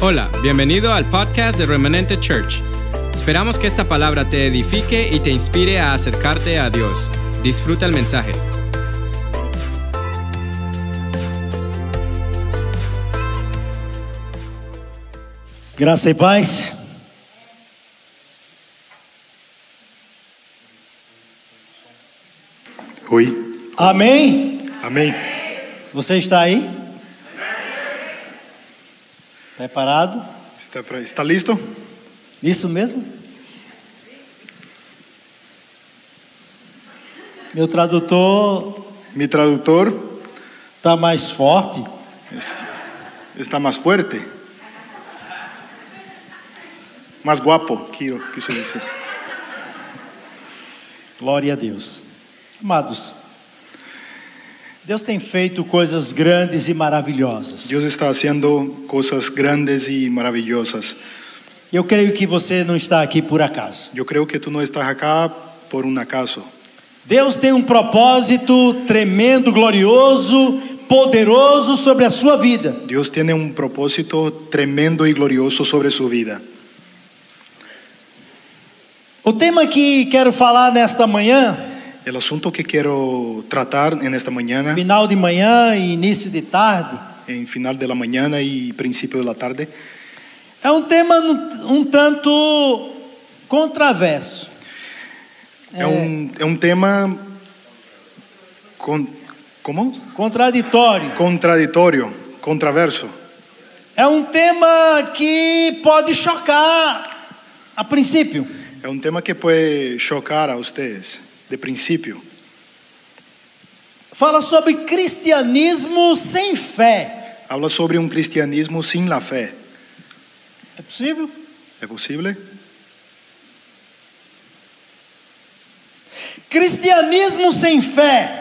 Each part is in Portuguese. Hola, bienvenido al podcast de Remanente Church. Esperamos que esta palabra te edifique y te inspire a acercarte a Dios. Disfruta el mensaje. Graça e paz. Oi. Amém. Amém. Você está aí? Preparado? Está, pra- está listo? Isso mesmo? Meu tradutor Mi traductor está mais forte. es- está más fuerte. Más guapo, quiero, quiso decir. Glória a Deus. Amados, Deus tem feito coisas grandes e maravilhosas. Dios está haciendo cosas grandes y maravillosas. Eu creio que você não está aqui por acaso. Yo creo que tú no estás acá por un acaso. Deus tem um propósito tremendo, glorioso, poderoso sobre a sua vida. Dios tiene un propósito tremendo y glorioso sobre su vida. O tema que quero falar nesta manhã, El asunto que quiero tratar en esta mañana, final de manhã e início de tarde, en final de la mañana y principio de la tarde, é um tema um- um tanto controverso. es un, es un tema... Con, ¿Cómo? Contraditório. contraditorio, contraverso. É um tema que pode chocar a princípio. Es un tema que puede chocar a ustedes de principio. Fala sobre cristianismo sem fé. Habla sobre un cristianismo sin la fe. É possível? ¿Es posible? Cristianismo sem fé.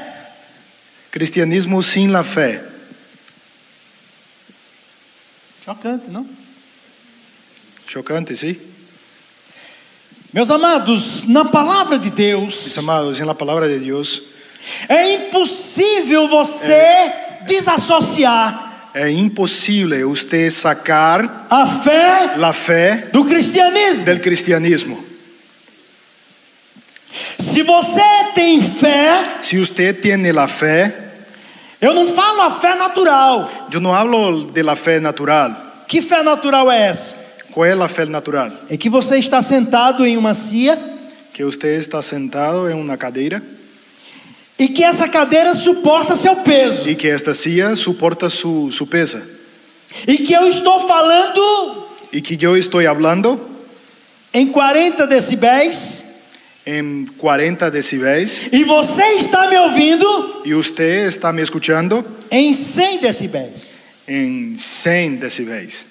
Cristianismo sin la fe. Chocante, não? Chocante, ¿sí? Meus amados, na palavra de Mis Deus, amados, en la palabra de Dios é impossível você desassociar es imposible usted sacar a fé la fe do cristianismo. del cristianismo. Se você tem fé, Si usted tiene la fe, eu não falo a fé natural. yo no hablo de la fe natural. Que fé natural é essa? ¿Cuál es la fe natural? É que você está sentado em uma cia Que usted está sentado en una cadera e que essa cadeira suporta seu peso. y que esta silla soporta su, su pesa. E que eu estou falando y que yo estoy hablando em 40 decibéis en 40 decibéis e você está me ouvindo y usted está me escuchando em 100 decibéis. en 100 decibéis.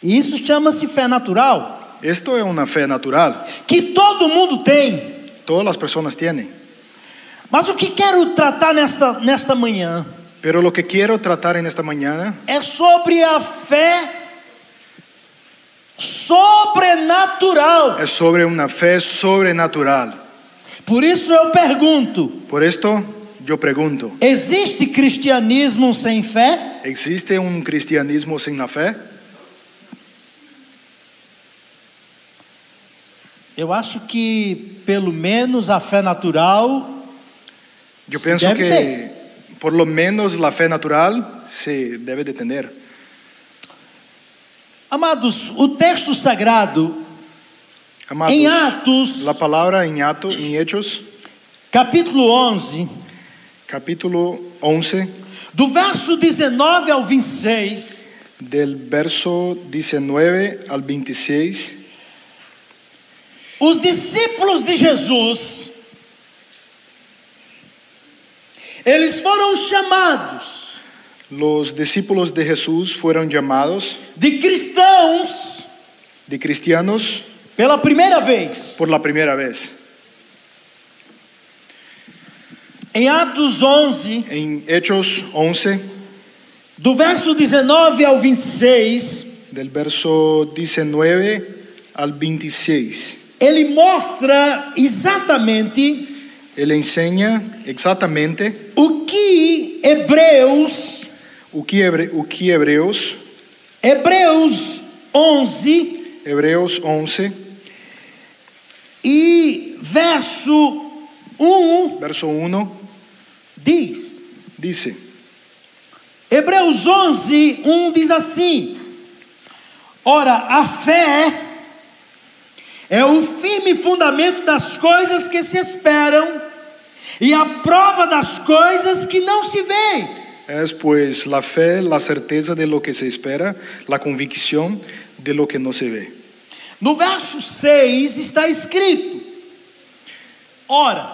E isso chama-se fé natural. Esto es una fe natural, que todo mundo tem. todas las personas tienen. Mas o que quero tratar nesta, nesta manhã Pero lo que quiero tratar en esta mañana é sobre a fé sobrenatural. es sobre una fe sobrenatural. Por isso eu pergunto: Por esto yo pregunto, existe cristianismo sem fé? ¿existe un cristianismo sin la fe? Eu acho que pelo menos a fé natural Yo Sí, pienso debe que de. por lo menos la fe natural se debe de tener. Amados, o texto sagrado Amados, em Atos, la palabra en, Ato- en Hechos, capítulo 11, capítulo 11, do verso 19 ao 26, del verso 19 al 26, Os discípulos de Jesus, eles foram chamados los discípulos de Jesús fueron llamados de cristãos de cristianos pela primeira vez. por la primera vez. Em Atos 11, En Hechos 11, do verso 19 ao 26, del verso 19 al 26, ele mostra exatamente él enseña exactamente o que Hebreus o que, hebre- o que hebreos Hebreus 11 Hebreus 11, e verso 1 verso 1, diz: dice, Hebreus 11, 1 diz assim: Ora, a fé é o firme fundamento das coisas que se esperam e a prova das coisas que não se veem. es pues la fe, la certeza de lo que se espera, la convicción de lo que no se ve. No verso 6 está escrito: Ora,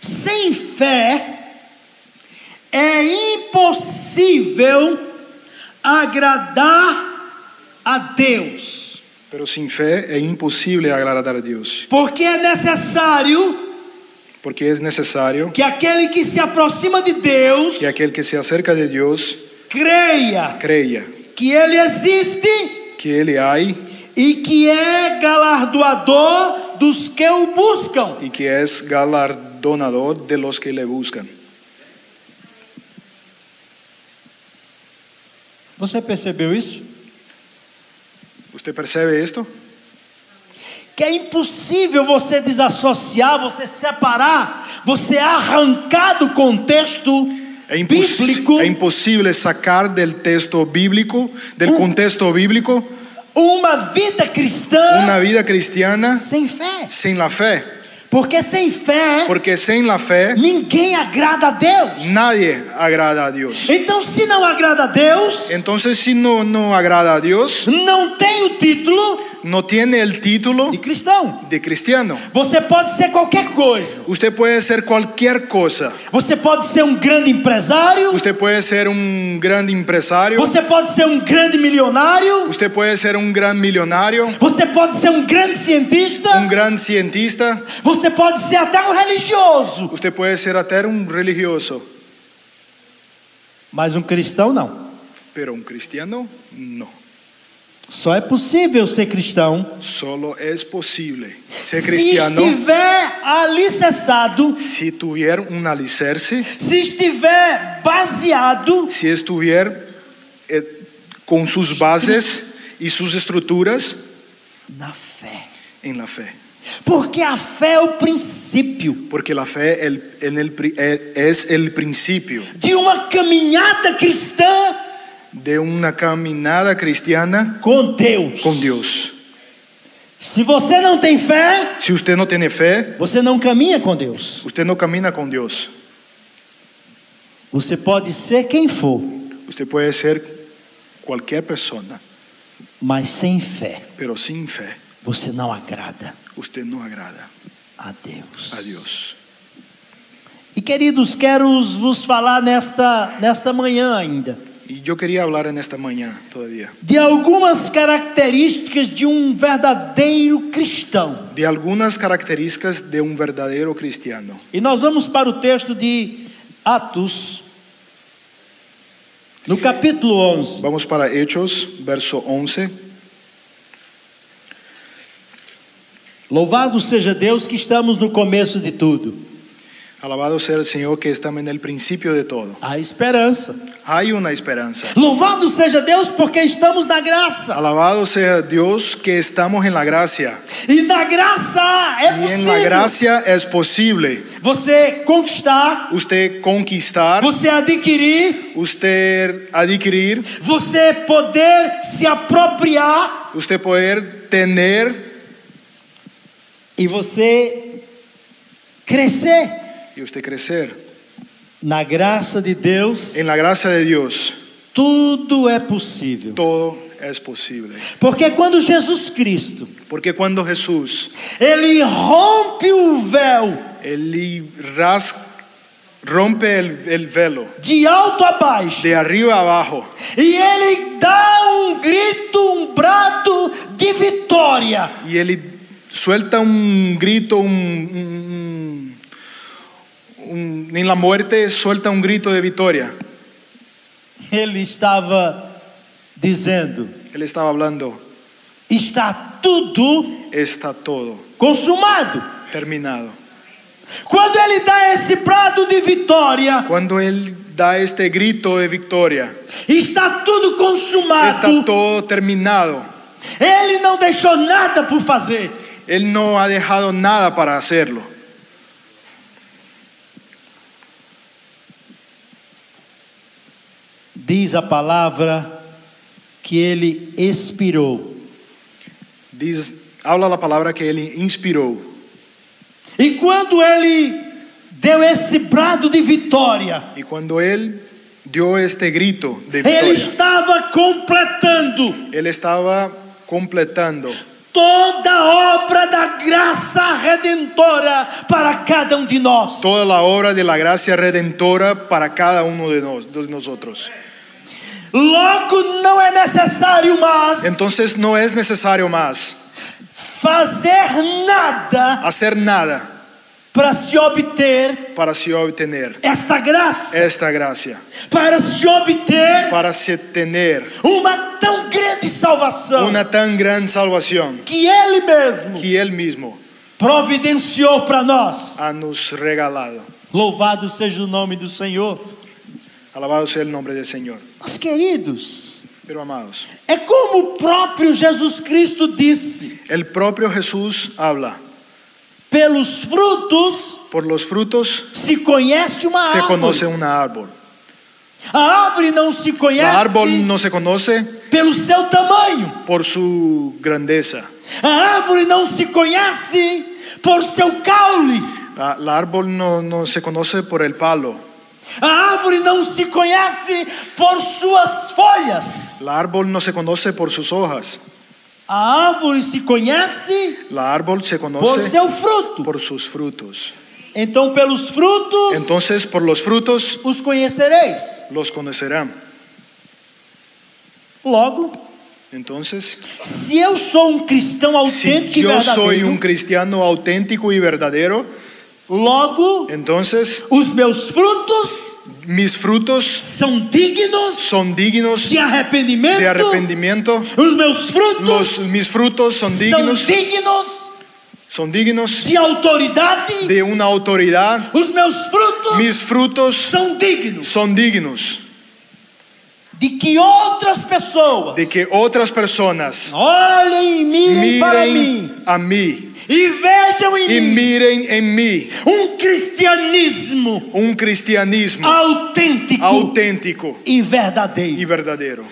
sem fé é impossível agradar a Deus, Pero sin fe es imposible agradar a Dios, porque é necessário porque es necesario que aquele que se aproxima de Deus que aquel que se acerca de Dios creia crea que ele existe que Él hay e que é galardoador dos que o buscam. y que es galardonador de los que le buscan. Você percebeu isso? ¿Usted percibe esto? que é impossível você desassociar, você separar, você arrancar do contexto Es, impos- bíblico es imposible sacar del texto bíblico, del Un- contexto bíblico, uma vida cristã una vida cristiana sem fé. sin la fe. Porque sem fé Porque sin la fe ninguém agrada a Deus. nadie agrada a Dios. Então, se não agrada a Deus, Entonces si no, no agrada a Dios, não tem o título no tiene el título de cristão. de cristiano. Você pode ser qualquer coisa. Usted puede ser cualquier cosa. Você pode ser um grande empresário. Usted puede ser un gran empresario. Você pode ser um grande milionário. Usted puede ser un gran millonario, Você pode ser um grande cientista. un gran cientista. Você pode ser até um religioso, Usted puede ser hasta un religioso. mas um cristão não. Pero un cristiano, no. Só é possível ser cristão Solo es posible ser se cristiano estiver alicerçado, si tuviera un alicerce, se estiver baseado si estuviera eh, con sus bases y sus estructuras na fé. en la fe. Porque a fé é o princípio Porque la fe el- en el pri- eh, es el principio de uma caminhada cristã de una caminada cristiana com Deus. con Dios. Se você não tem fé, Si usted no tiene fe, você não caminha com Deus. usted no camina con Dios. Você pode ser quem for, Usted puede ser cualquier persona, mas sem fé pero sin fe, você não agrada usted no agrada a Deus. a Dios. E queridos, quero os- vos falar nesta, nesta manhã ainda Y yo quería hablar en esta mañana todavía de algumas características de um verdadeiro cristão. de algunas características de un verdadero cristiano. E nós vamos para o texto de Atos, no capítulo 11. Vamos para Hechos, verso 11. Louvado seja Deus que estamos no começo de tudo. Alabado sea el Señor que está en el principio de todo. A esperança. Hay una esperanza. Louvado seja Deus porque estamos na graça. Alabado sea Dios que estamos en la gracia. E na graça é Y en la possível gracia es posible você conquistar, usted conquistar, você adquirir usted adquirir, Você poder se apropriar usted poder tener e você crescer y usted crecer. na graça de Deus, En la gracia de Dios tudo é possível. todo es posible. Porque quando Jesus Cristo, Porque cuando Jesús ele rompe o véu Él ras- rompe el, el velo de alto a baixo de arriba a abajo e ele dá um grito, um brado de vitória. y él suelta un grito, un, un- un- un- en la muerte suelta un grito de victoria. Ele estava dizendo: Él estaba hablando, está tudo está todo consumado. terminado. Quando ele dá esse brado de vitória, Cuando él da este grito de victoria. Está tudo Está consumado. todo terminado. Ele não deixou nada por fazer. Él no ha dejado nada para hacerlo. Diz a palavra que ele expirou. Diz, habla la palabra que él inspiró. E quando ele deu esse brado de vitória, Y cuando él dio este grito de ele victoria, estava completando él estaba completando toda a obra da graça redentora para cada um de nós. toda la obra de la gracia redentora para cada uno de, nos- de nosotros. Logo, não é necessário mais Entonces no es necesario más fazer nada hacer nada para se obter para así obtener esta graça, esta gracia, para se obter para así tener uma tão grande salvação una tan gran salvación que Ele mesmo que él mismo providenciou para nós. ha nos regalado. Louvado seja o nome do Senhor. Alabado sea el nombre del Señor. Mas, queridos, Pero amados, é como o próprio Jesus Cristo disse: el propio Jesús habla, pelos frutos por los frutos se conhece uma se árvore. conoce un árbol. A árvore não se conhece La árbol no se conoce pelo seu tamanho. por su grandeza. A árvore não se conhece por seu caule. La, la árbol no, no se conoce por el palo. A árvore não se conhece por suas folhas. La árbol no se conoce por sus hojas. A árvore se conhece La árbol se por conoce seu fruto. por sus frutos. Então, pelos frutos Entonces por los frutos os conhecereis. los conocerán. Logo, Entonces, se eu sou um cristão si autêntico e yo soy verdadeiro, un cristiano auténtico y verdadero, logo entonces os meus frutos mis frutos são dignos son dignos de arrependimento. de arrepentimiento. Os meus frutos Los, mis frutos son dignos, são dignos son dignos de autoridade. de una autoridad. Os meus frutos Mis frutos são dignos son dignos de que outras pessoas de que otras personas olhem e mirem para mim miren a mí e vejam em y mim miren en mí um cristianismo un cristianismo autêntico auténtico e y verdadeiro. verdadero.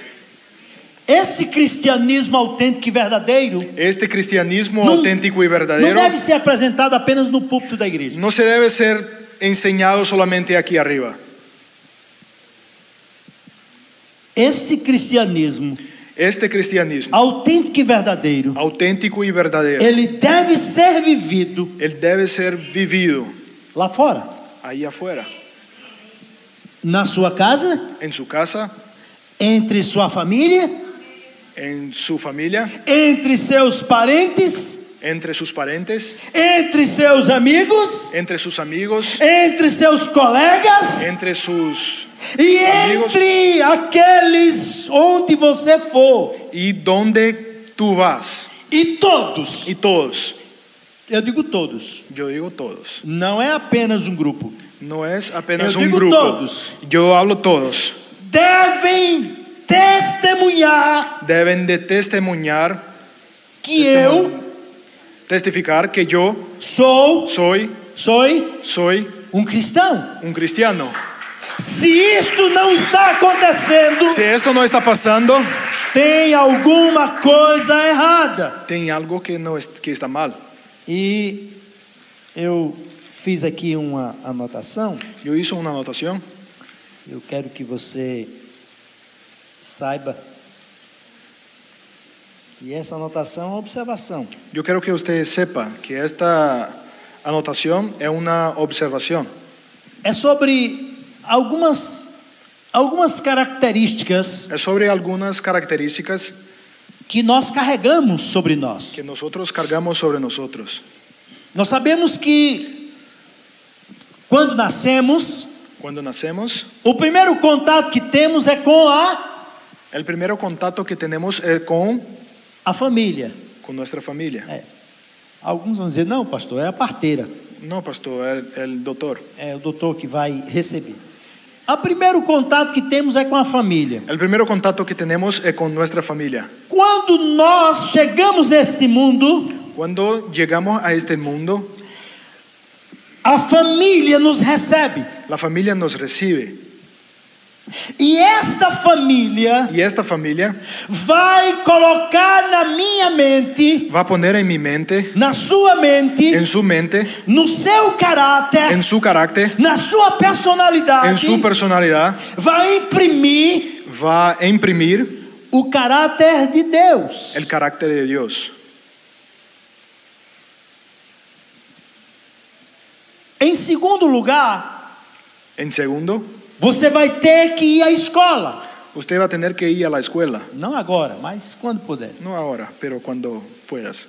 Esse cristianismo autêntico e verdadeiro Este cristianismo No- auténtico y não verdadero deve ser apresentado apenas no púlpito da igreja. no se debe ser enseñado solamente aquí arriba. Esse cristianismo Este cristianismo autêntico e verdadeiro, auténtico y verdadero, ele deve ser vivido él debe ser vivido lá fora, ahí afuera, na sua casa, en su casa, entre sua família, en su familia, entre seus parentes, entre sus parentes, entre seus amigos, entre sus amigos, entre seus colegas entre sus e amigos. entre aqueles onde você for. y donde tú vas E todos, y todos. eu digo todos, Yo digo todos. não é apenas um grupo, No es apenas Eu un digo grupo. todos. Yo hablo todos. devem testemunhar Deben de testimonio, que Testemunho. eu testificar que yo sou, soy, sou soy um cristão. un cristiano. Se isto não está acontecendo, Si esto no está pasando, tem alguma coisa errada. tiene algo que no es, que está mal. E eu fiz aqui uma anotação, Yo hice una anotación. eu quero que você saiba. E essa anotação é uma observação. Yo quiero que usted sepa que esta anotación es una observación. É sobre algumas algumas características Es sobre algunas características que nós carregamos sobre nós. que nosotros cargamos sobre nosotros. Nós sabemos que quando nascemos, Cuando nacemos, o primeiro contato que temos é com a, el primer contacto que tenemos es con, a família. con nuestra familia. Alguns vão dizer, não, pastor, é a parteira, No, pastor, el, el doctor. é o doutor que vai receber. O primeiro contato que temos é com a família. El primer contacto que tenemos es con nuestra familia. Quando nós chegamos neste mundo, Cuando llegamos a este mundo, a família nos recebe. la familia nos recibe E esta família y esta familia vai colocar na minha mente, va a poner en mi mente, na sua mente, en su mente, no seu caráter, en su carácter, na sua personalidade, en su personalidad, vai imprimir va a imprimir o caráter de Deus. el carácter de Dios. Em segundo lugar, En segundo, você vai ter que ir à escola. usted va a tener que ir a la escuela. Não agora, mas quando puder. No ahora, pero cuando puedas.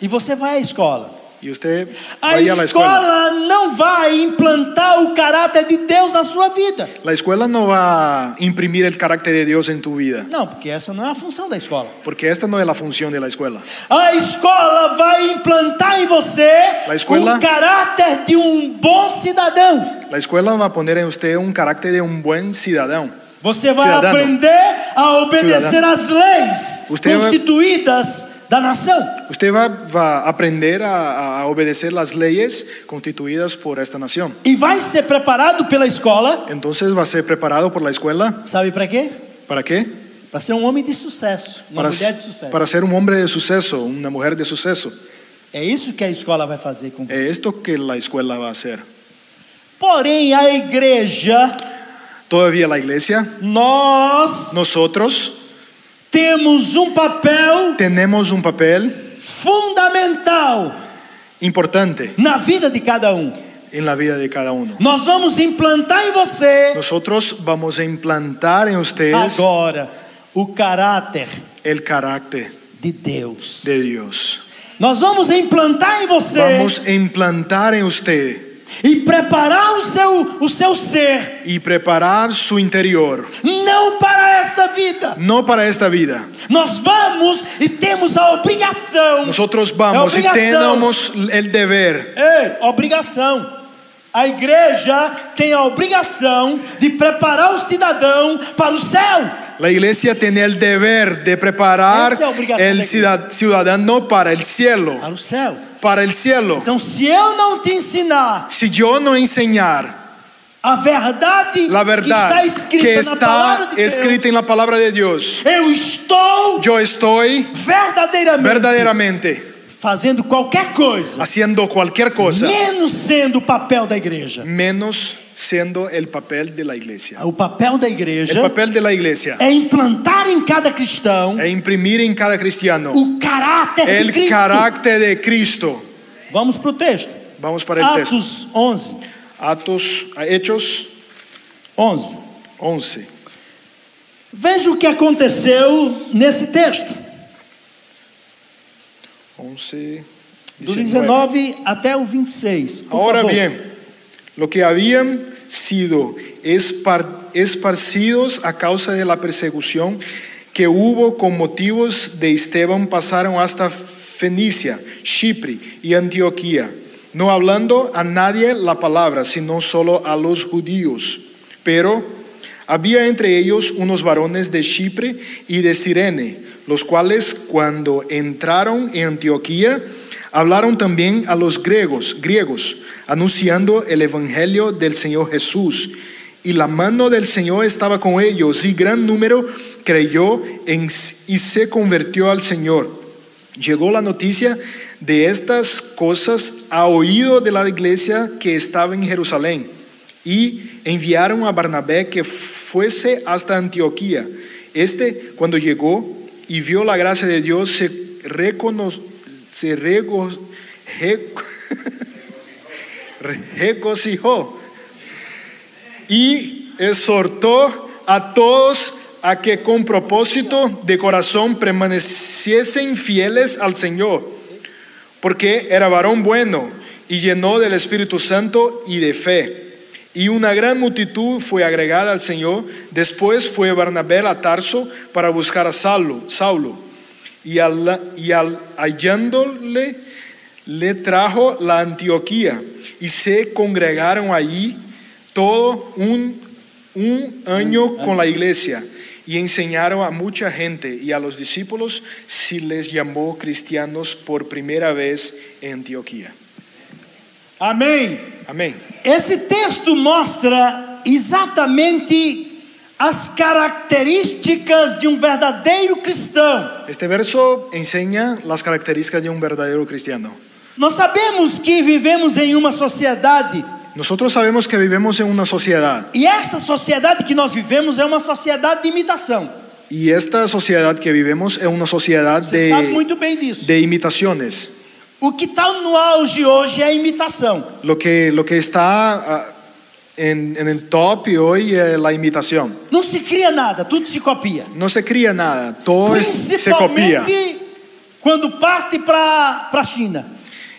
E você vai à escola. Y usted A vaya a la escuela. escola não vai implantar o caráter de Deus na sua vida. La escuela no va a imprimir el carácter de Dios en tu vida, Não, porque essa não é a função da escola. porque esta no es la función de la escuela. A escola vai implantar em você A escola- o caráter de um bom cidadão. La escuela va a poner en usted un carácter de un buen ciudadano. Você vai Cidadão. aprender a obedecer às leis Usted vai- constituídas da nação. Usted va, va a aprender a, a obedecer las leyes constituidas por esta nación. E vai ser preparado pela escola, Entonces va a ser preparado por la escuela. sabe para quê? ¿Para qué? Para ser um homem de sucesso, uma Para, mulher de sucesso. para ser un hombre de suceso, una mujer de suceso. É isso que a escola vai fazer com Es você. esto que la escuela va a hacer. Porém, a igreja, Todavía la iglesia, nós nosotros temos um papel tenemos un papel fundamental importante na vida de cada um. en la vida de cada uno. Nós vamos implantar em você Nosotros vamos a implantar en ustedes agora o caráter el carácter de Deus. de Dios. Nós vamos implantar em você Vamos a implantar en usted e preparar o seu, o seu ser, y preparar su interior, não para esta vida. no para esta vida. Nós vamos e temos a obrigação. Nosotros vamos y Obligación. tenemos el deber. Ei, obrigação. A igreja tem a obrigação de preparar o cidadão para o céu. La iglesia tiene el deber de preparar Esa obligación de el la ciudad- ciudadano para el cielo, Para o céu. para el cielo. Então, se eu não te ensinar Si yo no enseñar a verdade, la verdad que está escrita que na palavra está de Deus, escrita en la palabra de Dios, eu estou yo estoy verdadeiramente verdaderamente fazendo qualquer coisa, haciendo cualquier cosa, menos sendo o papel da igreja. menos siendo el papel de la iglesia. O papel da igreja El papel de la iglesia é implantar em cada cristão es imprimir en cada cristiano o caráter de el Cristo. carácter de Cristo. Vamos para o texto. Vamos para Ah, el texto. Atos 11, Atos, a Hechos 11. 11. Veja o que aconteceu nesse texto, 11. do 19 até o 26. por Ahora favor. bien, lo que habían sido espar- esparcidos a causa de la persecución que hubo con motivos de Esteban pasaron hasta Fenicia, Chipre y Antioquía, no hablando a nadie la palabra, sino solo a los judíos. Pero había entre ellos unos varones de Chipre y de Sirene, los cuales cuando entraron en Antioquía, hablaron también a los griegos, griegos, anunciando el evangelio del Señor Jesús. Y la mano del Señor estaba con ellos, y gran número creyó en- y se convirtió al Señor. Llegó la noticia de estas cosas a oído de la iglesia que estaba en Jerusalén y enviaron a Barnabé que fuese hasta Antioquía. Este, cuando llegó y vio la gracia de Dios, se, recono- se rego- re- re- regocijó y exhortó a todos a que con propósito de corazón permaneciesen fieles al Señor, porque era varón bueno y llenó del Espíritu Santo y de fe. Y una gran multitud fue agregada al Señor. Después fue Barnabé a Tarso para buscar a Saulo. Saulo. Y, al, y al- hallándole le trajo la Antioquía y se congregaron allí todo un, un año con la iglesia y enseñaron a mucha gente y a los discípulos si les llamó cristianos por primera vez en Antioquía. Amém. Amén. Esse texto mostra exatamente as características de um verdadeiro cristão. Este verso enseña las características de un verdadero cristiano. Nós sabemos que vivemos em uma sociedade Nosotros sabemos que vivimos en una sociedad e esta sociedade que nós vivemos é uma sociedade de imitação. y esta sociedad que vivimos es una sociedad Você sabe de, muito bem disso. de imitaciones. O que está no auge hoje é a imitação. Lo que, lo que está ah, en, en el top y hoy es la imitación. Não se cria nada, tudo se copia. No se cría nada, todo es- se copia. Principalmente quando parte para a China.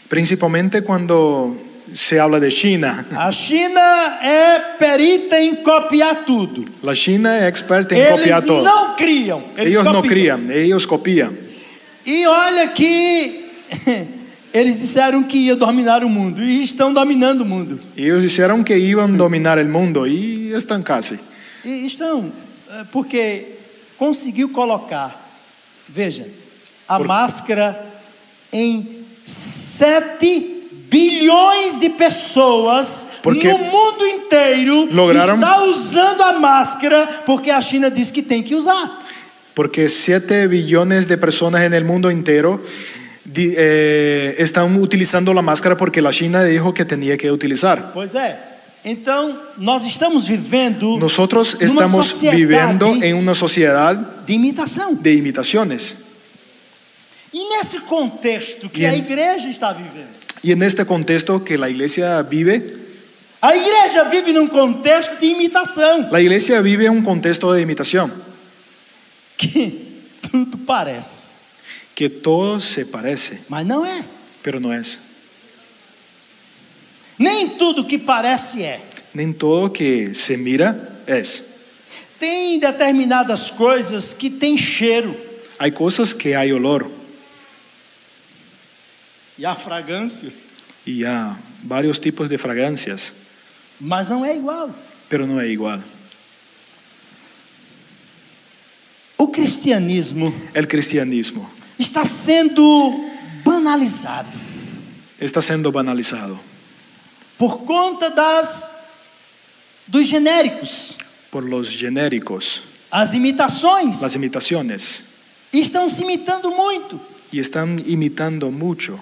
Principalmente cuando se habla de China. A China é perita em copiar tudo. La China es experta en copiar Eles todo. não criam, eles Ellos no copiam. crían, ellos copian. E olha que eles disseram que iam dominar o mundo e estão dominando o mundo. Ellos dijeron que iban a dominar el mundo y están casi. E estão, eh, porque conseguiu colocar, veja, a máscara em 7 bilhões de pessoas Porque no mundo inteiro lograram- está usando a máscara porque a China diz que tem que usar. Porque 7 billones de personas en el mundo entero di- eh, están utilizando la máscara porque la China dijo que tenía que utilizar. Pois é. Então, nós estamos vivendo Nosotros numa estamos sociedade viviendo en una sociedad de imitação. de imitaciones. E nesse contexto que E em- a igreja está vivendo. Y en este contexto que la iglesia vive, A igreja vive num contexto de imitação, la iglesia vive un contexto de imitación, que tudo parece, que todo se parece, mas não é. pero no es. Nem tudo que parece é. En todo que se mira es. Tem determinadas coisas que têm cheiro. Hay cosas que hay olor E há fragrâncias. y ya varios tipos de fragancias, Mas não é igual. pero no es igual. O cristianismo El cristianismo está sendo banalizado. está siendo banalizado por conta das dos genéricos, por los genéricos, as imitações las imitaciones, estão se imitando muito. y están imitando mucho.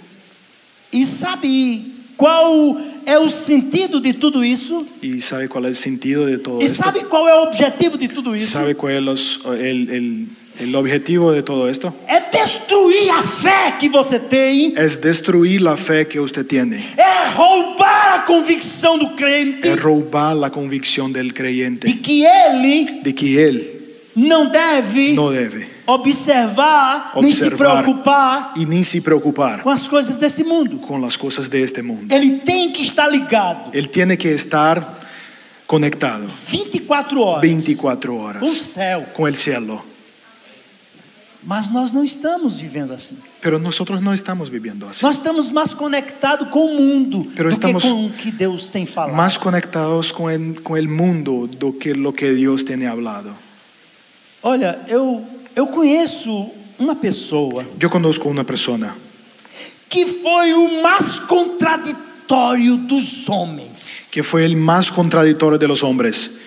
E sabe qual é o sentido de tudo isso? ¿Y sabe cuál es el sentido de todo E esto? sabe qual é o objetivo de tudo isso? ¿Sabe cuál es los- el, el- el objetivo de todo esto? É destruir a fé que você tem, Es destruir la fe que usted tiene, é roubar a convicção do crente es robar la convicción del creyente de que ele de que él não deve no debe observar, nem se Observar. preocupar y ni se preocupar com as coisas desse mundo. con las cosas de este mundo. Ele tem que estar ligado Él tiene que estar conectado 24 horas. 24 com o horas céu. con el cielo. Mas nós não estamos vivendo assim. Pero nosotros no estamos viviendo así. Nós estamos mais conectados com o mundo Pero do estamos- que com o que Deus tem falado. Más conectados con el, con el mundo do que lo que Dios tiene hablado. Olha, eu, eu conheço uma pessoa Yo conozco una persona que foi o mais contraditório dos homens. que fue el más contradictorio de los hombres.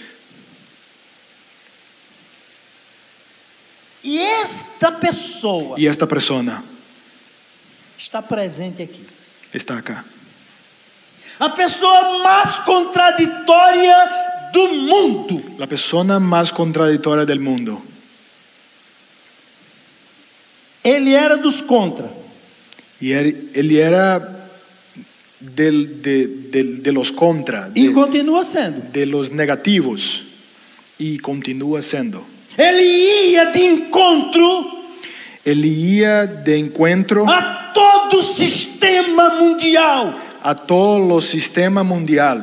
E esta pessoa Y esta persona está presente aqui. está acá. A pessoa mais contraditória do mundo. La persona más contradictoria del mundo. Ele era dos contra. Y él, él era del- de, de- de los contra, E de, continua sendo. de los negativos. Y continúa siendo. Ele ia de encontro Él iba de encuentro a todo o sistema mundial. a todo los sistema mundial.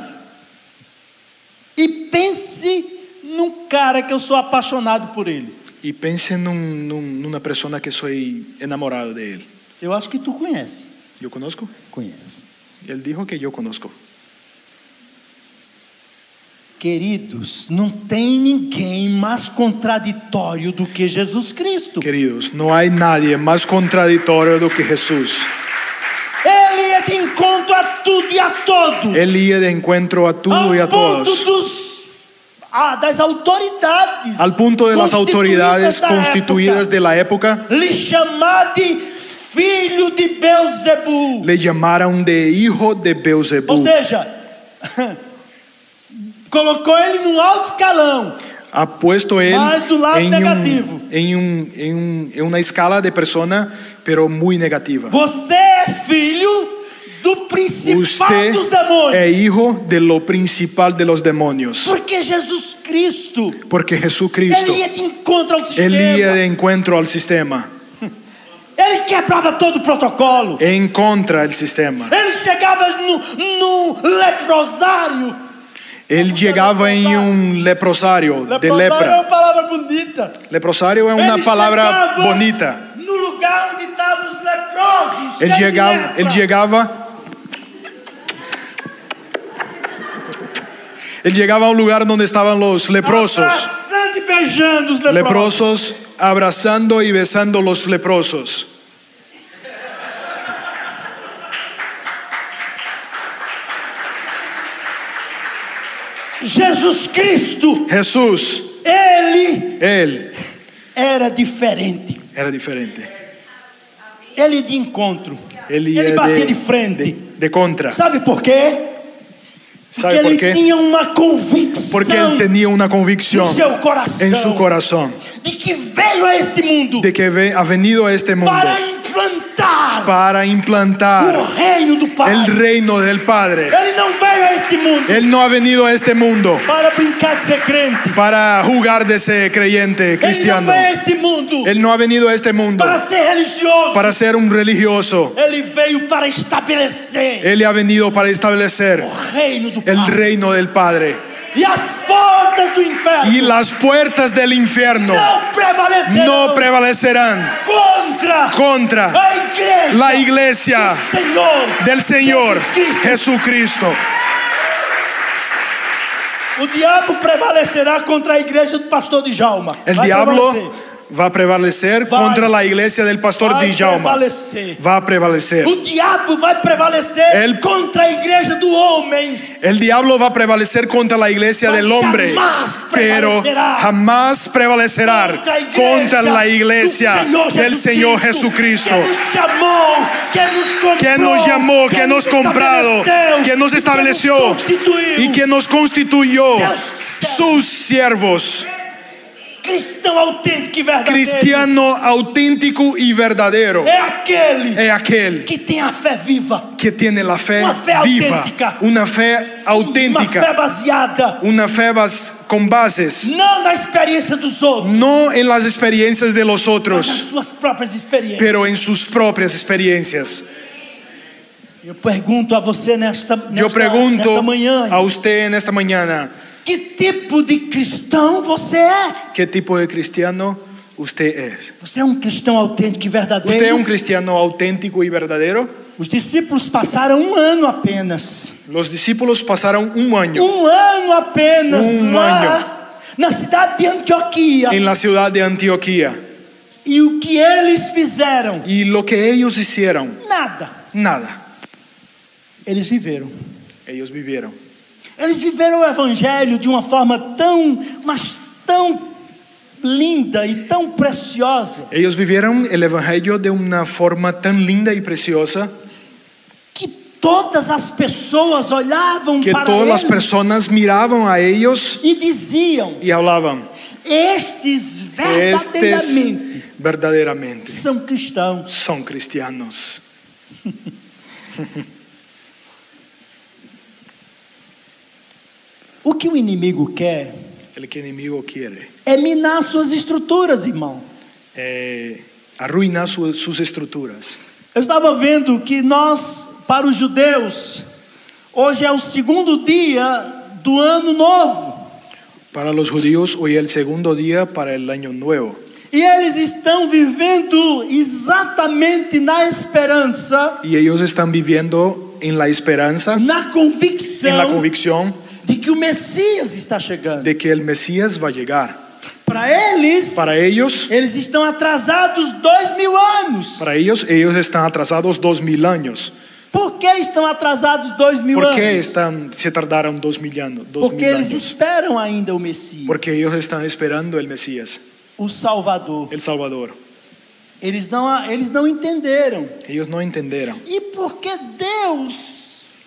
E pense num cara que eu sou apaixonado por ele. Y pense en una persona que soy enamorado de él. Eu acho que tu conhece. ¿Yo conozco? Conhece. Él dijo que yo conozco. Queridos, não tem ninguém mais contraditório do que Jesus Cristo. Queridos, no hay nadie más contradictorio do que Jesús. Ele ia de encontro a tudo e a todos. Él iba de encuentro a todo y é um a ao ponto todos. dos, ah, das autoridades. Al punto de las autoridades constituidas de de la época lhe chamar de filho de Beelzebub. le llamaron de hijo de Ou Beelzebú. seja, colocou ele num alto escalão. Ha puesto él Mas do lado en, un- negativo. en un- en un- en una escala de persona, pero muy negativa. Você é filho do principal Usted dos demônios. es hijo de lo principal de los demonios. Porque é Jesus Cristo, Porque Jesucristo, ele é ia de encontro ao sistema. él iba de Ele, encuentro al sistema, quebrava todo o protocolo. en contra del sistema. Ele chegava no, no leprosário. Él llegaba en un leprosario de Leprosário é lepra. uma palavra bonita. Leprosario es una Ele palabra chegava bonita. No lugar onde estavam os leprosos. cheio Él de llegaba, lepra. él llegaba. Él llegaba a un lugar donde estaban los leprosos, Abraçando e beijando os leprosos. leprosos abrazando y besando los leprosos. Jesus Cristo, Jesús, ele él era diferente. era diferente. Ele ia de encontro. Él ele iba batia de, é de, frente. de, de contra. Sabe por quê? Porque ¿Sabe por ele qué? tinha uma convicção Porque él tenía una convicción no seu coração en su corazón de que veio a este mundo de que ve- ha venido a este mundo para implantar para o implantar reino do Pai. el reino del Padre. Ele não veio a este mundo Él no ha venido a este mundo para brincar de ser crente. para jugar de ese creyente Ele não cristiano. veio a este mundo Él no ha venido a este mundo para ser religioso. para ser un religioso. Ele veio para estabelecer Él ha venido para establecer o reino do el Pai. reino del Padre. E as portas do inferno Y las puertas del infierno não prevalecerão no prevalecerán contra contra a igreja la iglesia do Senhor, del Señor Jesus Cristo. Jesucristo. O diabo prevalecerá contra a igreja do pastor de Jalma. El diablo va a prevalecer contra la iglesia del pastor vai Dijalma. prevalecer. Va a prevalecer. O diabo vai prevalecer Ele- contra a igreja do homem. El diablo va a prevalecer contra la iglesia Mas del hombre, jamás pero prevalecerá jamás prevalecerá contra a igreja contra la iglesia do Senhor del Señor Jesucristo, Que nos chamou, que nos comprou, que nos llamó, que nos comprado, estabeleceu, que nos e estableció constituiu. y que nos constituyó Seus sus siervos, cristão autêntico e verdadeiro cristiano auténtico y verdadero. é aquele Es aquel que tem a fé viva, que tiene la fe Una fe viva, auténtica. una fe uma fé auténtica, baseada una fe bas- con bases, não na experiência dos outros, no en las experiencias de mas nas los otros. suas próprias experiências. pero en sus propias experiencias. Eu pergunto a você nesta, nesta, Yo pregunto nesta manhã, a usted en esta mañana, que tipo de cristão você é? ¿qué tipo de cristiano usted es? Você é um cristão autêntico e verdadeiro? ¿Usted es un cristiano auténtico y verdadero? Os discípulos passaram um ano apenas, Los discípulos pasaron un año um ano apenas Um lá ano. na cidade de Antioquia. en la ciudad de Antioquía E o que eles fizeram? y lo que ellos hicieron, Nada. nada, Eles viveram. ellos vivieron. Eles viveram o evangelho de uma forma tão, mas tão linda e tão preciosa Ellos vivieron el Evangelio de una forma tan linda y preciosa que todas as pessoas olhavam que para todas eles las personas miraban a ellos e diziam: y hablaban, estes estos verdadeiramente Este verdaderamente são cristãos. son cristianos. O que o inimigo quer El que enemigo quiere é minar suas estruturas, irmão. eh, arruinar su- sus estructuras. Eu estava vendo que nós, para os judeus, hoje é o segundo dia do ano novo. Para los judíos, hoy es el segundo día para el año nuevo. E eles estão vivendo exatamente na esperança, Y ellos están viviendo en la esperanza, na en la convicção convicción de que o Messias está chegando. de que el Mesías va a llegar. Para eles, Para ellos, eles estão atrasados dois mil anos. para ellos, ellos están atrasados dos mil años. Por que estão atrasados dois mil ¿Por anos? qué están, se tardaron dos mil años? Dos Porque mil eles años? esperam ainda o Messias, Porque ellos están esperando el Mesías, o Salvador. el Salvador. Eles não, eles não entenderam. Ellos no entenderam. E porque Deus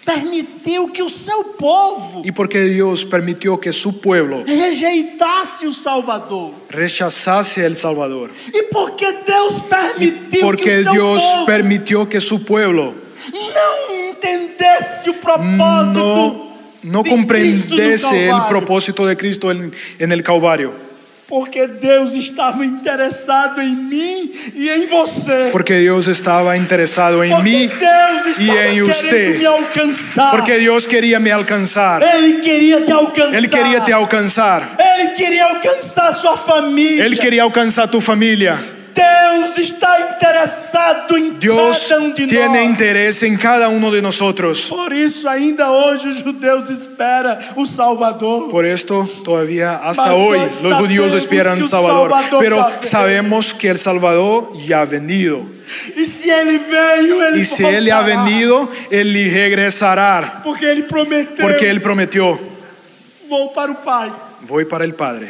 permitiu que o seu povo Y porque Dios permitió que su pueblo rejeitasse o Salvador. rechazase el Salvador. E porque Deus permitiu que Porque o seu Dios povo permitió que su pueblo não entendesse o propósito no, no de Cristo no comprendiese el Calvário. propósito de Cristo en, en el Calvario. Porque Deus estava interessado em mim e em você. Porque Dios estaba interesado en Porque mí Deus estava e em querendo você. me alcançar. Porque Dios quería me alcanzar. Ele queria te alcançar. Él quería te alcanzar. Ele queria alcançar sua família. Él quería alcanzar tu familia. Deus está interessado em Dios cada um de tiene nós. interés en cada uno de nosotros. Por isso ainda hoje os judeus espera o Salvador. Por esto todavía hasta Mas hoy nós los sabemos judíos que esperan o Salvador, Salvador pero va a sabemos que el Salvador ya ha venido. E se ele veio, ele Y si Él ha voltará. venido, Él regresará, Porque ele prometeu. porque Él prometió, Vou para o Pai, voy para el Padre,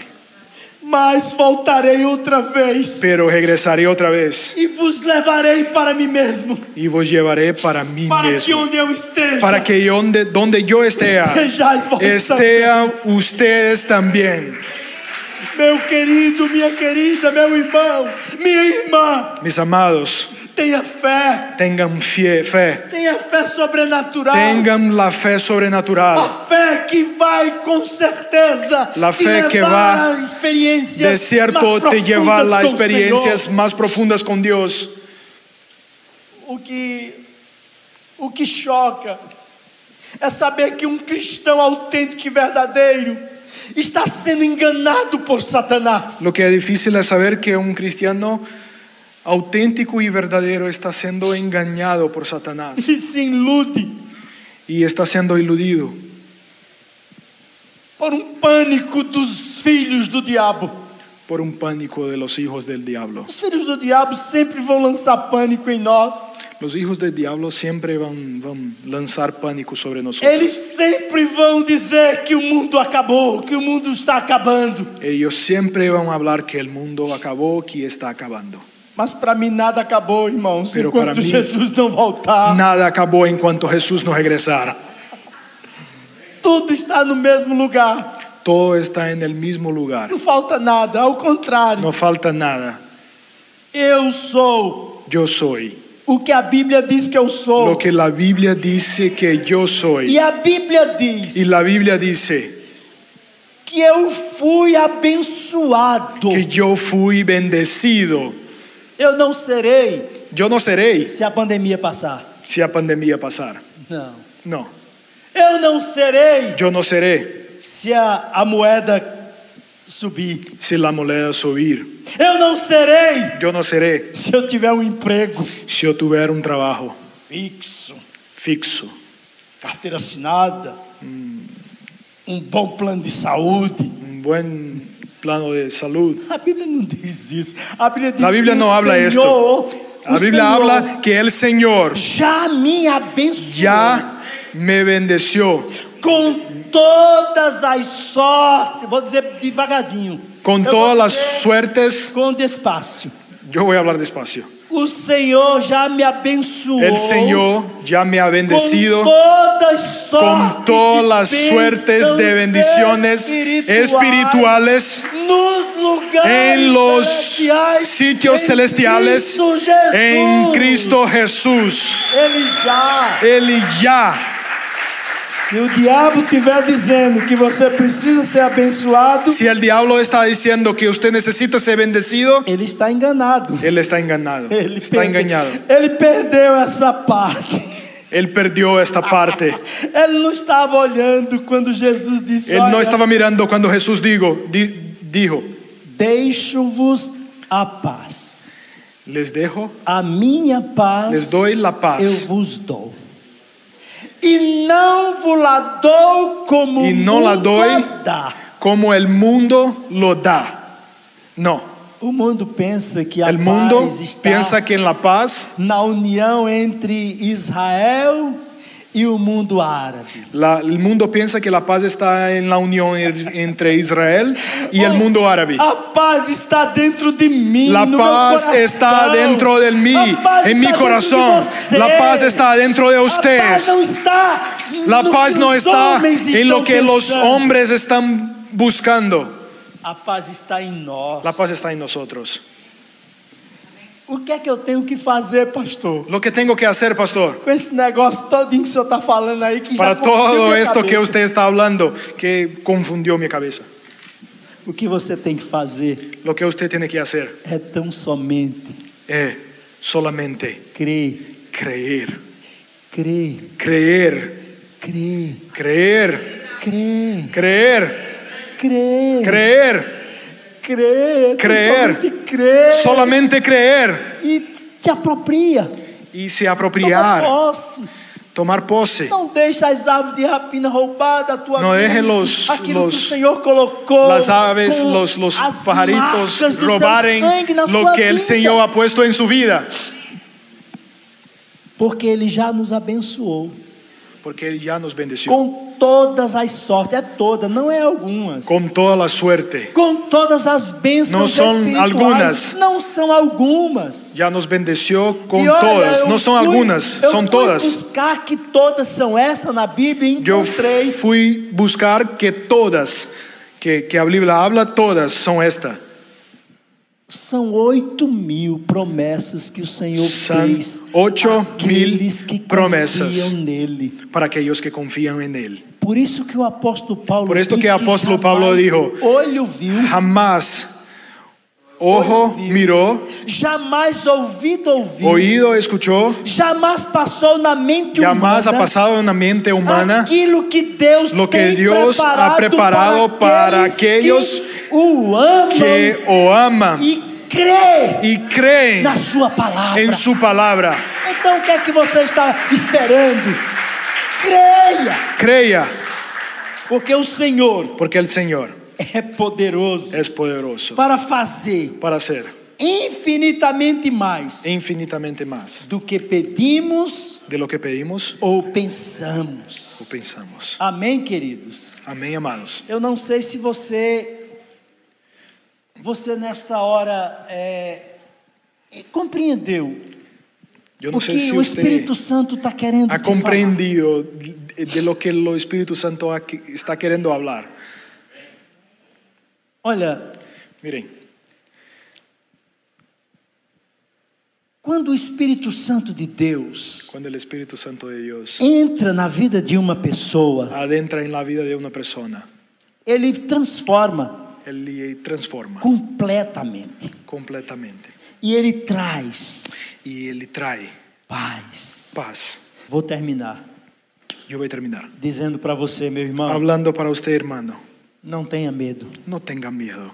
mas voltarei outra vez. pero regresaré otra vez E vos levarei para mim mesmo. y vos llevaré para mí Para que mismo, onde eu esteja. para que yo donde, donde yo esté, estejais vós também. estéan ustedes también. Meu querido, minha querida, meu irmão, minha irmã, Mis amados, tenha fé, tengan fie- fe, tenha fé sobrenatural. tengan la fe A sobrenatural. fé que vai com certeza La te fe que levar va a experiências de cierto mais te lleva a profundas las com o experiencias más profundas con Dios. Senhor. O que o que choca é saber que um cristão autêntico e verdadeiro está sendo enganado por Satanás. Lo que es difícil es saber que un cristiano auténtico y verdadero está siendo engañado por Satanás E se ilude y está siendo iludido por um pânico dos filhos do diabo. por un pánico de los hijos del diablo. Os filhos do diabo sempre vão lançar pânico em nós. Los hijos del diablo siempre van, van a lanzar pánico sobre nosotros. Eles sempre vão dizer que o mundo acabou, que o mundo está acabando. Ellos siempre van a hablar que el mundo acabó, que está acabando. Mas para mim nada acabou, irmãos, Pero para enquanto mim- Jesus não voltar. Nada acabó en cuanto Jesús no regresara. Tudo está no mesmo lugar. Todo está en el mismo lugar. Não falta nada, ao contrário. No falta nada. Eu sou Yo soy. o que a Bíblia diz que eu sou. Lo que la Biblia dice que yo soy. E a Bíblia diz Y la Biblia dice que eu fui abençoado. que yo fui bendecido. Eu não serei Yo no seré se a pandemia passar. si la pandemia pasar. Não. No, Eu não serei yo no seré se a, a moeda subir. si la moneda subir. Eu não serei Yo no seré se eu tiver um emprego si yo tuviera un trabajo fixo, fixo, carteira assinada, Hum. um bom plano de saúde. un buen plano de salud. A Bíblia não diz isso. A Bíblia diz La Biblia que no o habla Senhor, La o Senhor Biblia habla que el Señor já me abençoou ya me bendeció com todas as sortes, vou dizer devagarzinho, con Eu todas vou las dizer suertes. com despacio. Yo voy a hablar despacio. O Senhor já me abençoou. El Señor ya me ha bendecido. Oh. Con todas sortes con todas las de suertes de bênçãos bendiciones espirituales nos lugares en los celestiais, sitios em celestiales Cristo Jesus. en Cristo Jesús. Ele já. Él ya, Se o diabo estiver dizendo que você precisa ser abençoado, si el diablo está diciendo que usted necesita ser bendecido, ele está enganado. él está engañado, Ele está perde- engañado. Ele perdeu esa parte. Él perdió esta parte. Ele não estava olhando quando Jesus disse: Él no "Olha, estaba mirando cuando Jesús digo, di- dijo, Deixo-vos a paz. les dejo, A minha paz les doy la eu paz. vos dou. E não vos la dou como E não la mundo doi. a dá. como el mundo lo da. No, O mundo pensa que a el mundo paz está piensa que en la paz, na união entre Israel e o mundo árabe. la- el mundo piensa que la paz está en la unión er- entre Israel y el Oh, mundo árabe. A paz está dentro de mim. La no meu paz coração. está dentro de mí, A paz en mi está corazón. dentro de você. La paz está dentro de A paz ustedes. não está La no paz que no os está homens en lo estão que los pensando. hombres están buscando. A paz está em nós. La paz está en nosotros. O que é que eu tenho que fazer, pastor? Lo que tengo que hacer, pastor, Com esse negócio todinho que o senhor está falando aí que já para confundiu todo minha esto que cabeça. usted está hablando, que confundió mi cabeza. O que você tem que fazer Lo que usted tiene que hacer é tão somente es solamente crer, creer, crer, creer, crer, creer, crer, creer, crer, crer, creer, Crer. somente crer. solamente creer E te apropria, y se toma apropiar, posse. tomar pose. Não deixa as aves de rapina roubar da tua Não vida. deixe los- aquilo que los- o Senhor colocou. las aves, com los, los as pajaritos marcas do seu robaren sangue na lo sua que el vida. Señor ha puesto en su vida, Porque Ele já nos abençoou porque Él ya nos bendeció com todas as sortes, é toda, não é algumas. con toda la suerte. Com todas as bênçãos Não são espirituais, algumas. não são algumas. Ya nos bendeció con E olha, todas, eu no son fui- algunas, eu son fui todas. buscar que todas são essa na Bíblia e Yo encontrei. fui buscar que todas, que, que la Biblia habla, todas son esta. São oito mil promessas que o Senhor São fez. oito àqueles mil que promessas. confiam nele. para aquellos que confían en Él. Por isso que o apóstolo Paulo Por isto diz que o apóstolo jamais Paulo dijo, o olho viu, Jamás ojo miró, jamais ouvido ouviu, oído escuchó, jamais passou na mente jamás ha humana pasado en la mente humana. aquilo que Deus lo que tem Deus ha preparado para aqueles que o amam que o aman e crê y creen na sua palavra. en su palabra. Então o que é que você está esperando? Creia, Crea, porque o Senhor porque el Señor é poderoso es poderoso para fazer para hacer infinitamente mais infinitamente más do que pedimos de lo que pedimos ou pensamos. o pensamos. Amém, queridos. Amén, amados. Eu não sei se você, você nesta hora é, compreendeu Yo no o sé que si o usted Espírito Santo está querendo ha te falar. comprendido de de lo que el Espíritu Santo ha- está queriendo hablar. Olha, Miren, quando o Espírito Santo de Deus cuando el Espíritu Santo de Dios entra na vida de uma pessoa, adentra en la vida de una persona, ele transforma Él le transforma completamente completamente e ele traz y Él le trae paz. paz. Vou terminar Yo voy a terminar. dizendo para você, meu irmão, Hablando para usted, hermano, não tenha medo. no tenga miedo.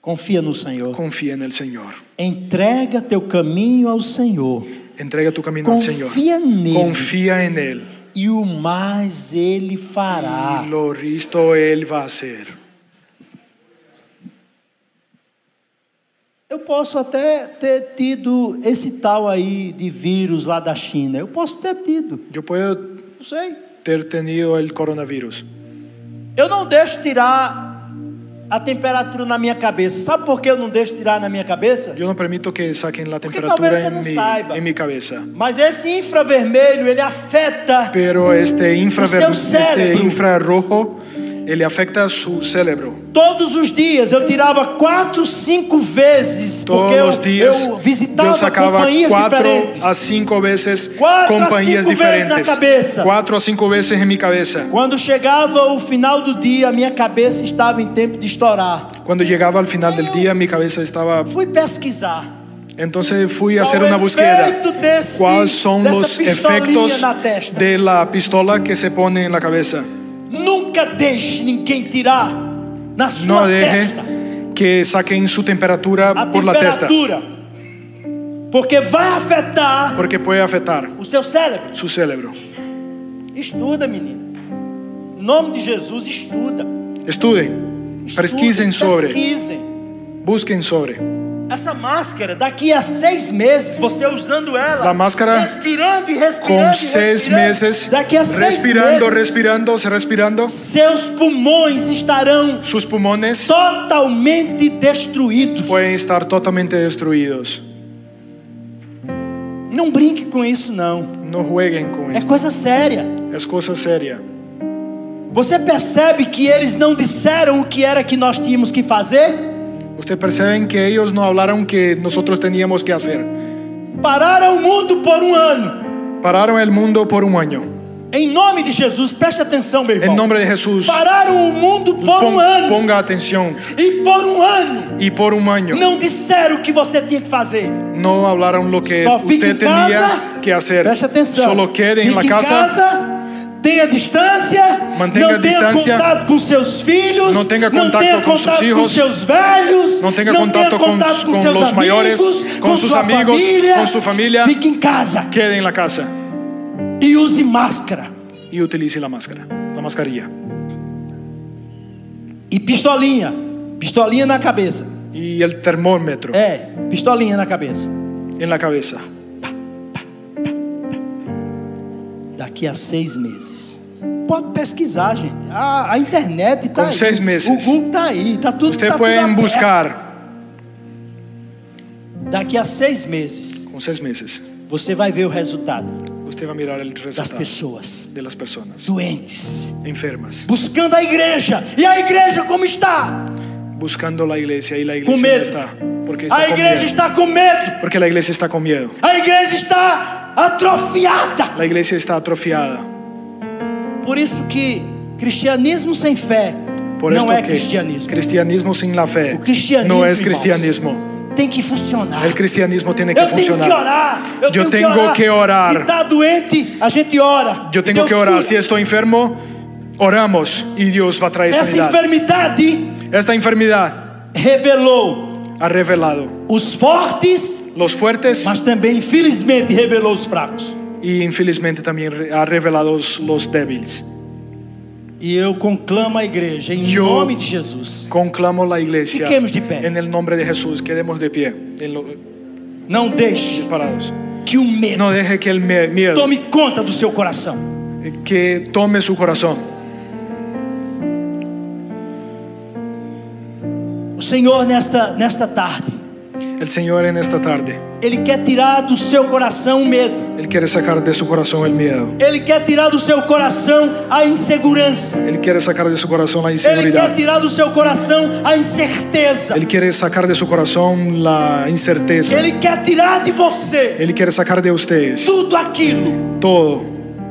Confia no Senhor. Confía en el Señor. Entrega teu caminho ao Senhor Entrega tu camino al Confía Señor. en Él. Confía en Él. e o mais ele fará. Y lo listo Él va a hacer. Eu posso até ter tido esse tal aí de vírus lá da China. Eu posso ter tido, Yo puedo não sei. haber tenido el coronavirus. Eu não deixo tirar a temperatura na minha cabeça. Sabe por que eu não deixo tirar na minha cabeça? Yo no permito que saquen la Porque temperatura talvez você en não mi, saiba. en mi cabeza. Mas esse infravermelho, ele afeta Pero este, infraver- O seu este cérebro. infrarrojo eh, le afecta a su cerebro. Todos os dias eu tirava quatro, cinco vezes, Todos porque eu, los días eu yo visitava sacaba companhias cuatro diferentes. a cinco veces Cuatro a compañías cinco veces en la diferentes. cabeza. Cuatro a cinco veces en mi cabeza. Quando chegava o final do dia, a minha cabeça estava em tempo de estourar. Cuando llegaba al final del día, mi cabeza estaba. Fui pesquisar. Entonces fui a qual hacer o una búsqueda. efeito desse- ¿Cuáles son dessa los pistolinha efectos na testa? de la pistola que se pone en la cabeza? Nunca deixe ninguém tirar na sua No deje testa que saquen su temperatura a por la testa, temperatura. Porque vai afetar porque puede afectar o seu cérebro. su cerebro. Estuda, menino. Em nome de Jesus, estuda. Estudem, Estude, pesquisem sobre, Pesquisem. busquen sobre. Essa máscara, daqui a seis meses, você usando ela. La máscara Respirando e respirando. Con e seis respirando. meses, Daqui a seis respirando, meses, respirando, respirando, Seus pulmões estarão sus pulmones totalmente destruídos. pueden estar totalmente destruidos. Não brinque com isso, não. No jueguen con É esto, coisa séria. es cosa seria. Você percebe que eles não disseram o que era que nós tínhamos que fazer? Ustedes perciben que ellos no hablaron que nosotros teníamos que hacer. Pararam o mundo por um ano. Pararon el mundo por un año. Em nome de Jesus, preste atenção, meu irmão. En nombre de Jesús, Pararam o mundo por um pon- ano. ponga atención. E por um ano Y por un año não disseram o que você tinha que fazer. no hablaron lo que Só fique usted em casa. tenía que hacer. Preste atenção. Solo quede en la Fique em casa. tenha distância. Mantenha não tenha distância. contato com seus filhos. Não tenha não contato tenha com contato seus com hijos. seus velhos. Não tenha tenha contato com- contato com, com seus los mayores, amigos, com sus sua amigos, família. com sua família. Fique em casa Quede en la casa e use máscara y utilice la máscara, la mascarilla e pistolinha, pistolinha na cabeça. y el termómetro É, pistolinha na cabeça. en la cabeza. Daqui a seis meses. Pode pesquisar, gente. A, a internet está Com aí. seis meses. O Google está aí. Está eh. tudo tá Ustedes tudo pueden aberto. buscar Daqui a seis meses, con seis meses. você vai ver o resultado Usted va a mirar el das resultado pessoas de las personas doentes, enfermas, buscando a igreja. E a igreja como está? buscando la iglesia y la Com iglesia no medo. está A porque está con igreja miedo. está com medo. Porque la iglesia está con miedo. A igreja está atrofiada. La iglesia está atrofiada. Por isso que cristianismo sem fé Por não esto é que cristianismo. cristianismo sin la fe O cristianismo, no es irmãos, cristianismo. Tem que funcionar. El cristianismo tiene É que Eu tenho que funcionar. orar. Eu, Eu tenho tenho que orar. Se está doente, a gente ora. Yo tengo Deus que orar. é cura. Si estoy enfermo, oramos y Dios va a traer Essa sanidad. enfermidade Esta enfermedad revelou ha revelado os fortes, los fuertes mas também, infelizmente, revelou os fracos. y infelizmente también re- ha revelado los- los débiles. E eu conclamo a igreja em Eu- nome de Jesus. Conclamo la iglesia Fiquemos de pé. en el nombre de Jesús. Quedemos de pie, en lo- Não deixe parados. que o medo No deje que el me- miedo eh, tome conta do seu coração. que tome su corazón. O Senhor, nesta, nesta tarde, El Señor en esta tarde, Ele quer tirar do seu coração o medo. Él quiere sacar de su corazón el miedo. Ele quer tirar do seu coração a insegurança. Él quiere sacar de su corazón la Ele quer inseguridad. tirar do seu corazão a incerteza. Él quiere sacar de su corazón la incerteza. Ele quer tirar de você Él quiere sacar de ustedes tudo aquilo todo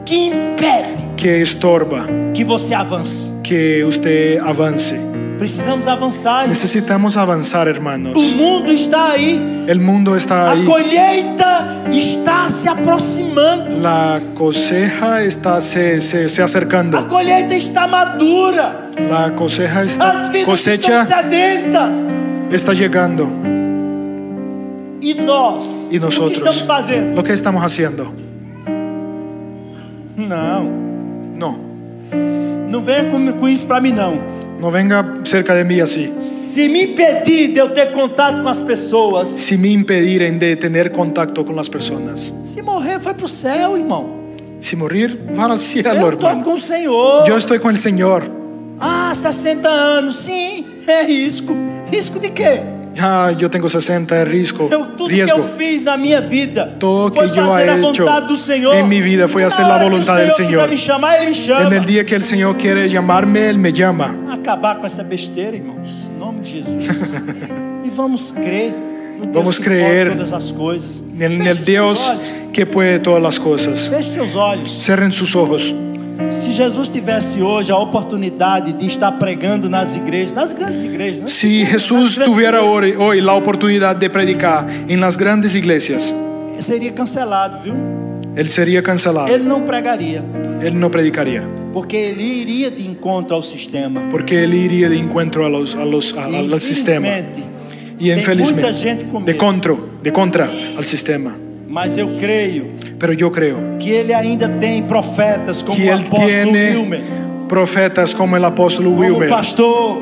que impede que estorba que você avance. que usted avance. Precisamos avançar. Necesitamos avanzar, O hermanos. mundo está aí. El mundo está A ahí. colheita está se aproximando. La coseja está se, se, se A acercando. colheita está madura. La coseja está As vidas estão cosecha sedentas. está llegando. E nós? E nós O que outros? estamos fazendo? Lo que estamos haciendo. Não. No, Não venha com, com isso pra mí não. no venga cerca de mí así. Se me impedir de eu ter contato com as pessoas, Si me impediren de tener contacto con las personas. se morrer foi pro céu, irmão. Si morir, van al cielo, Eu tô hermano. com o Senhor. Yo estoy con el Señor. Ah, 60 anos, sim, é risco. Risco de quê? Ah, yo tengo 60 de riesgo. Eu, tudo que riesgo. eu fiz na minha vida Todo foi que yo fazer he a hecho vontade do Senhor. en mi vida foi Na hacer la hora que voluntad del o Senhor. quiser Señor. me chamar, Ele me En chama. el día que el Señor quiere llamarme, Él me llama. Acabar com essa besteira, irmãos, em nome de Jesus. e vamos crer no Deus Vamos que crer pode todas as coisas. En Feche el seus Dios olhos. que puede todas las cosas. Feche seus olhos. Cierren sus ojos. Se Jesus tivesse hoje a oportunidade de estar pregando nas igrejas, nas grandes igrejas, né? Si Nas Jesús grandes tuviera igrejas, hoy, hoy la oportunidad de predicar en las grandes iglesias, seria cancelado, viu? Él sería cancelado. Ele não pregaria. Él no predicaría. Porque ele iria de encontro ao sistema. Porque Él iría de encuentro a los, a los, a- E, al al sistema. infelizmente, Y tem muita infelizmente, gente com de medo. contra, de contra al sistema. Mas eu creio Pero yo creo que ele ainda tem profetas como que né? o Él apóstolo Wilmer, tiene profetas como el apóstol como o Wilber, pastor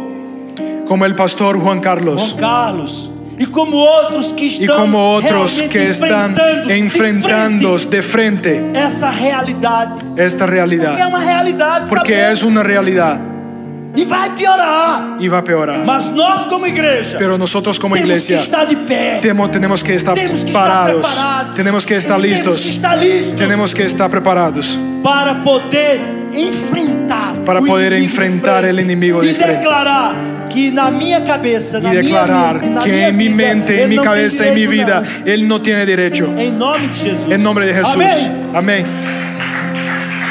como el pastor Juan Carlos. Juan Carlos e como outros que y estão como otros realmente que están de enfrentando frente de frente essa realidade. esta Porque é realidad, uma realidade, porque é sabemos, es una realidad e vai piorar. y va a peorar. Mas nós como igreja Pero nosotros como temos iglesia que estar de pé. temo- tenemos que estar Temos que estar Tá parados, preparados. tenemos que estar Temos que listos, estar listos tenemos que estar preparados para poder enfrentar Para o inimigo poder de enfrentar frente. el inimigo de e frente. declarar que na minha cabeça, na y declarar minha, na que minha en mi vida, mente, en ele mi não tem cabeza, en mi direito, vida, não. Él no tiene derecho. Em nome de Jesus. En nombre de Jesús. Amém. Amén.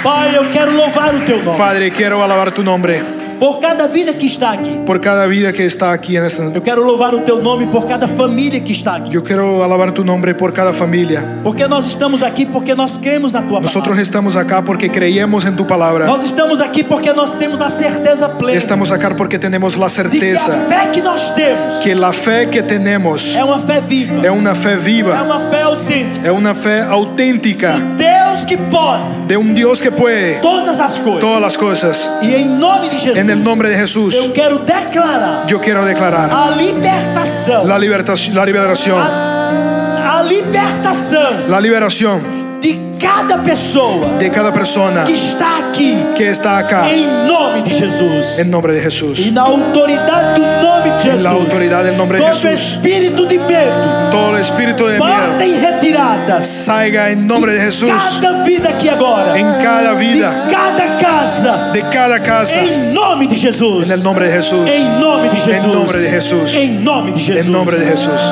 Pai, eu quero louvar o teu nome Padre, quiero alabar tu nombre por cada vida que está aqui. por cada vida que está aquí en esta. Eu quero louvar o teu nome por cada família que está aqui. Yo quiero alabar tu nombre por cada familia. Porque nós estamos aqui porque nós cremos na tua Nosotros palavra. estamos acá porque creemos en tu palabra. Nós estamos aqui porque nós temos a certeza plena Estamos acá porque tenemos la de que a certeza fé que nós temos que la fe que tenemos é uma fé viva, es una fe é viva, uma fé autêntica. es una fe auténtica Deus que pode de un Dios que puede todas as coisas. todas las cosas. E em nome de Jesus, En el nombre de Jesús, eu quero declarar yo quiero declarar a libertação, la libertación, la liberación, a, a libertação la liberación de cada pessoa de cada persona que está aqui que está acá em nome de Jesus. en nombre de E Jesús. na autoridade do nome de Jesus. En la autoridad del nombre de todo Jesús. espírito de medo, Todo el espíritu de porta miedo em retirada. salga en nombre de Jesús Cada vida aqui agora. en cada vida, De cada casa. de cada casa, Em nome de Jesus. en el nombre de Jesús. Em nome de Jesus. Em nome de Jesus. Em nome de Jesus. En nombre de Jesús.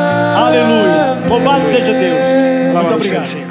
Aleluia. Louvado seja Deus. Muito Alabado sea el obrigado. Señor.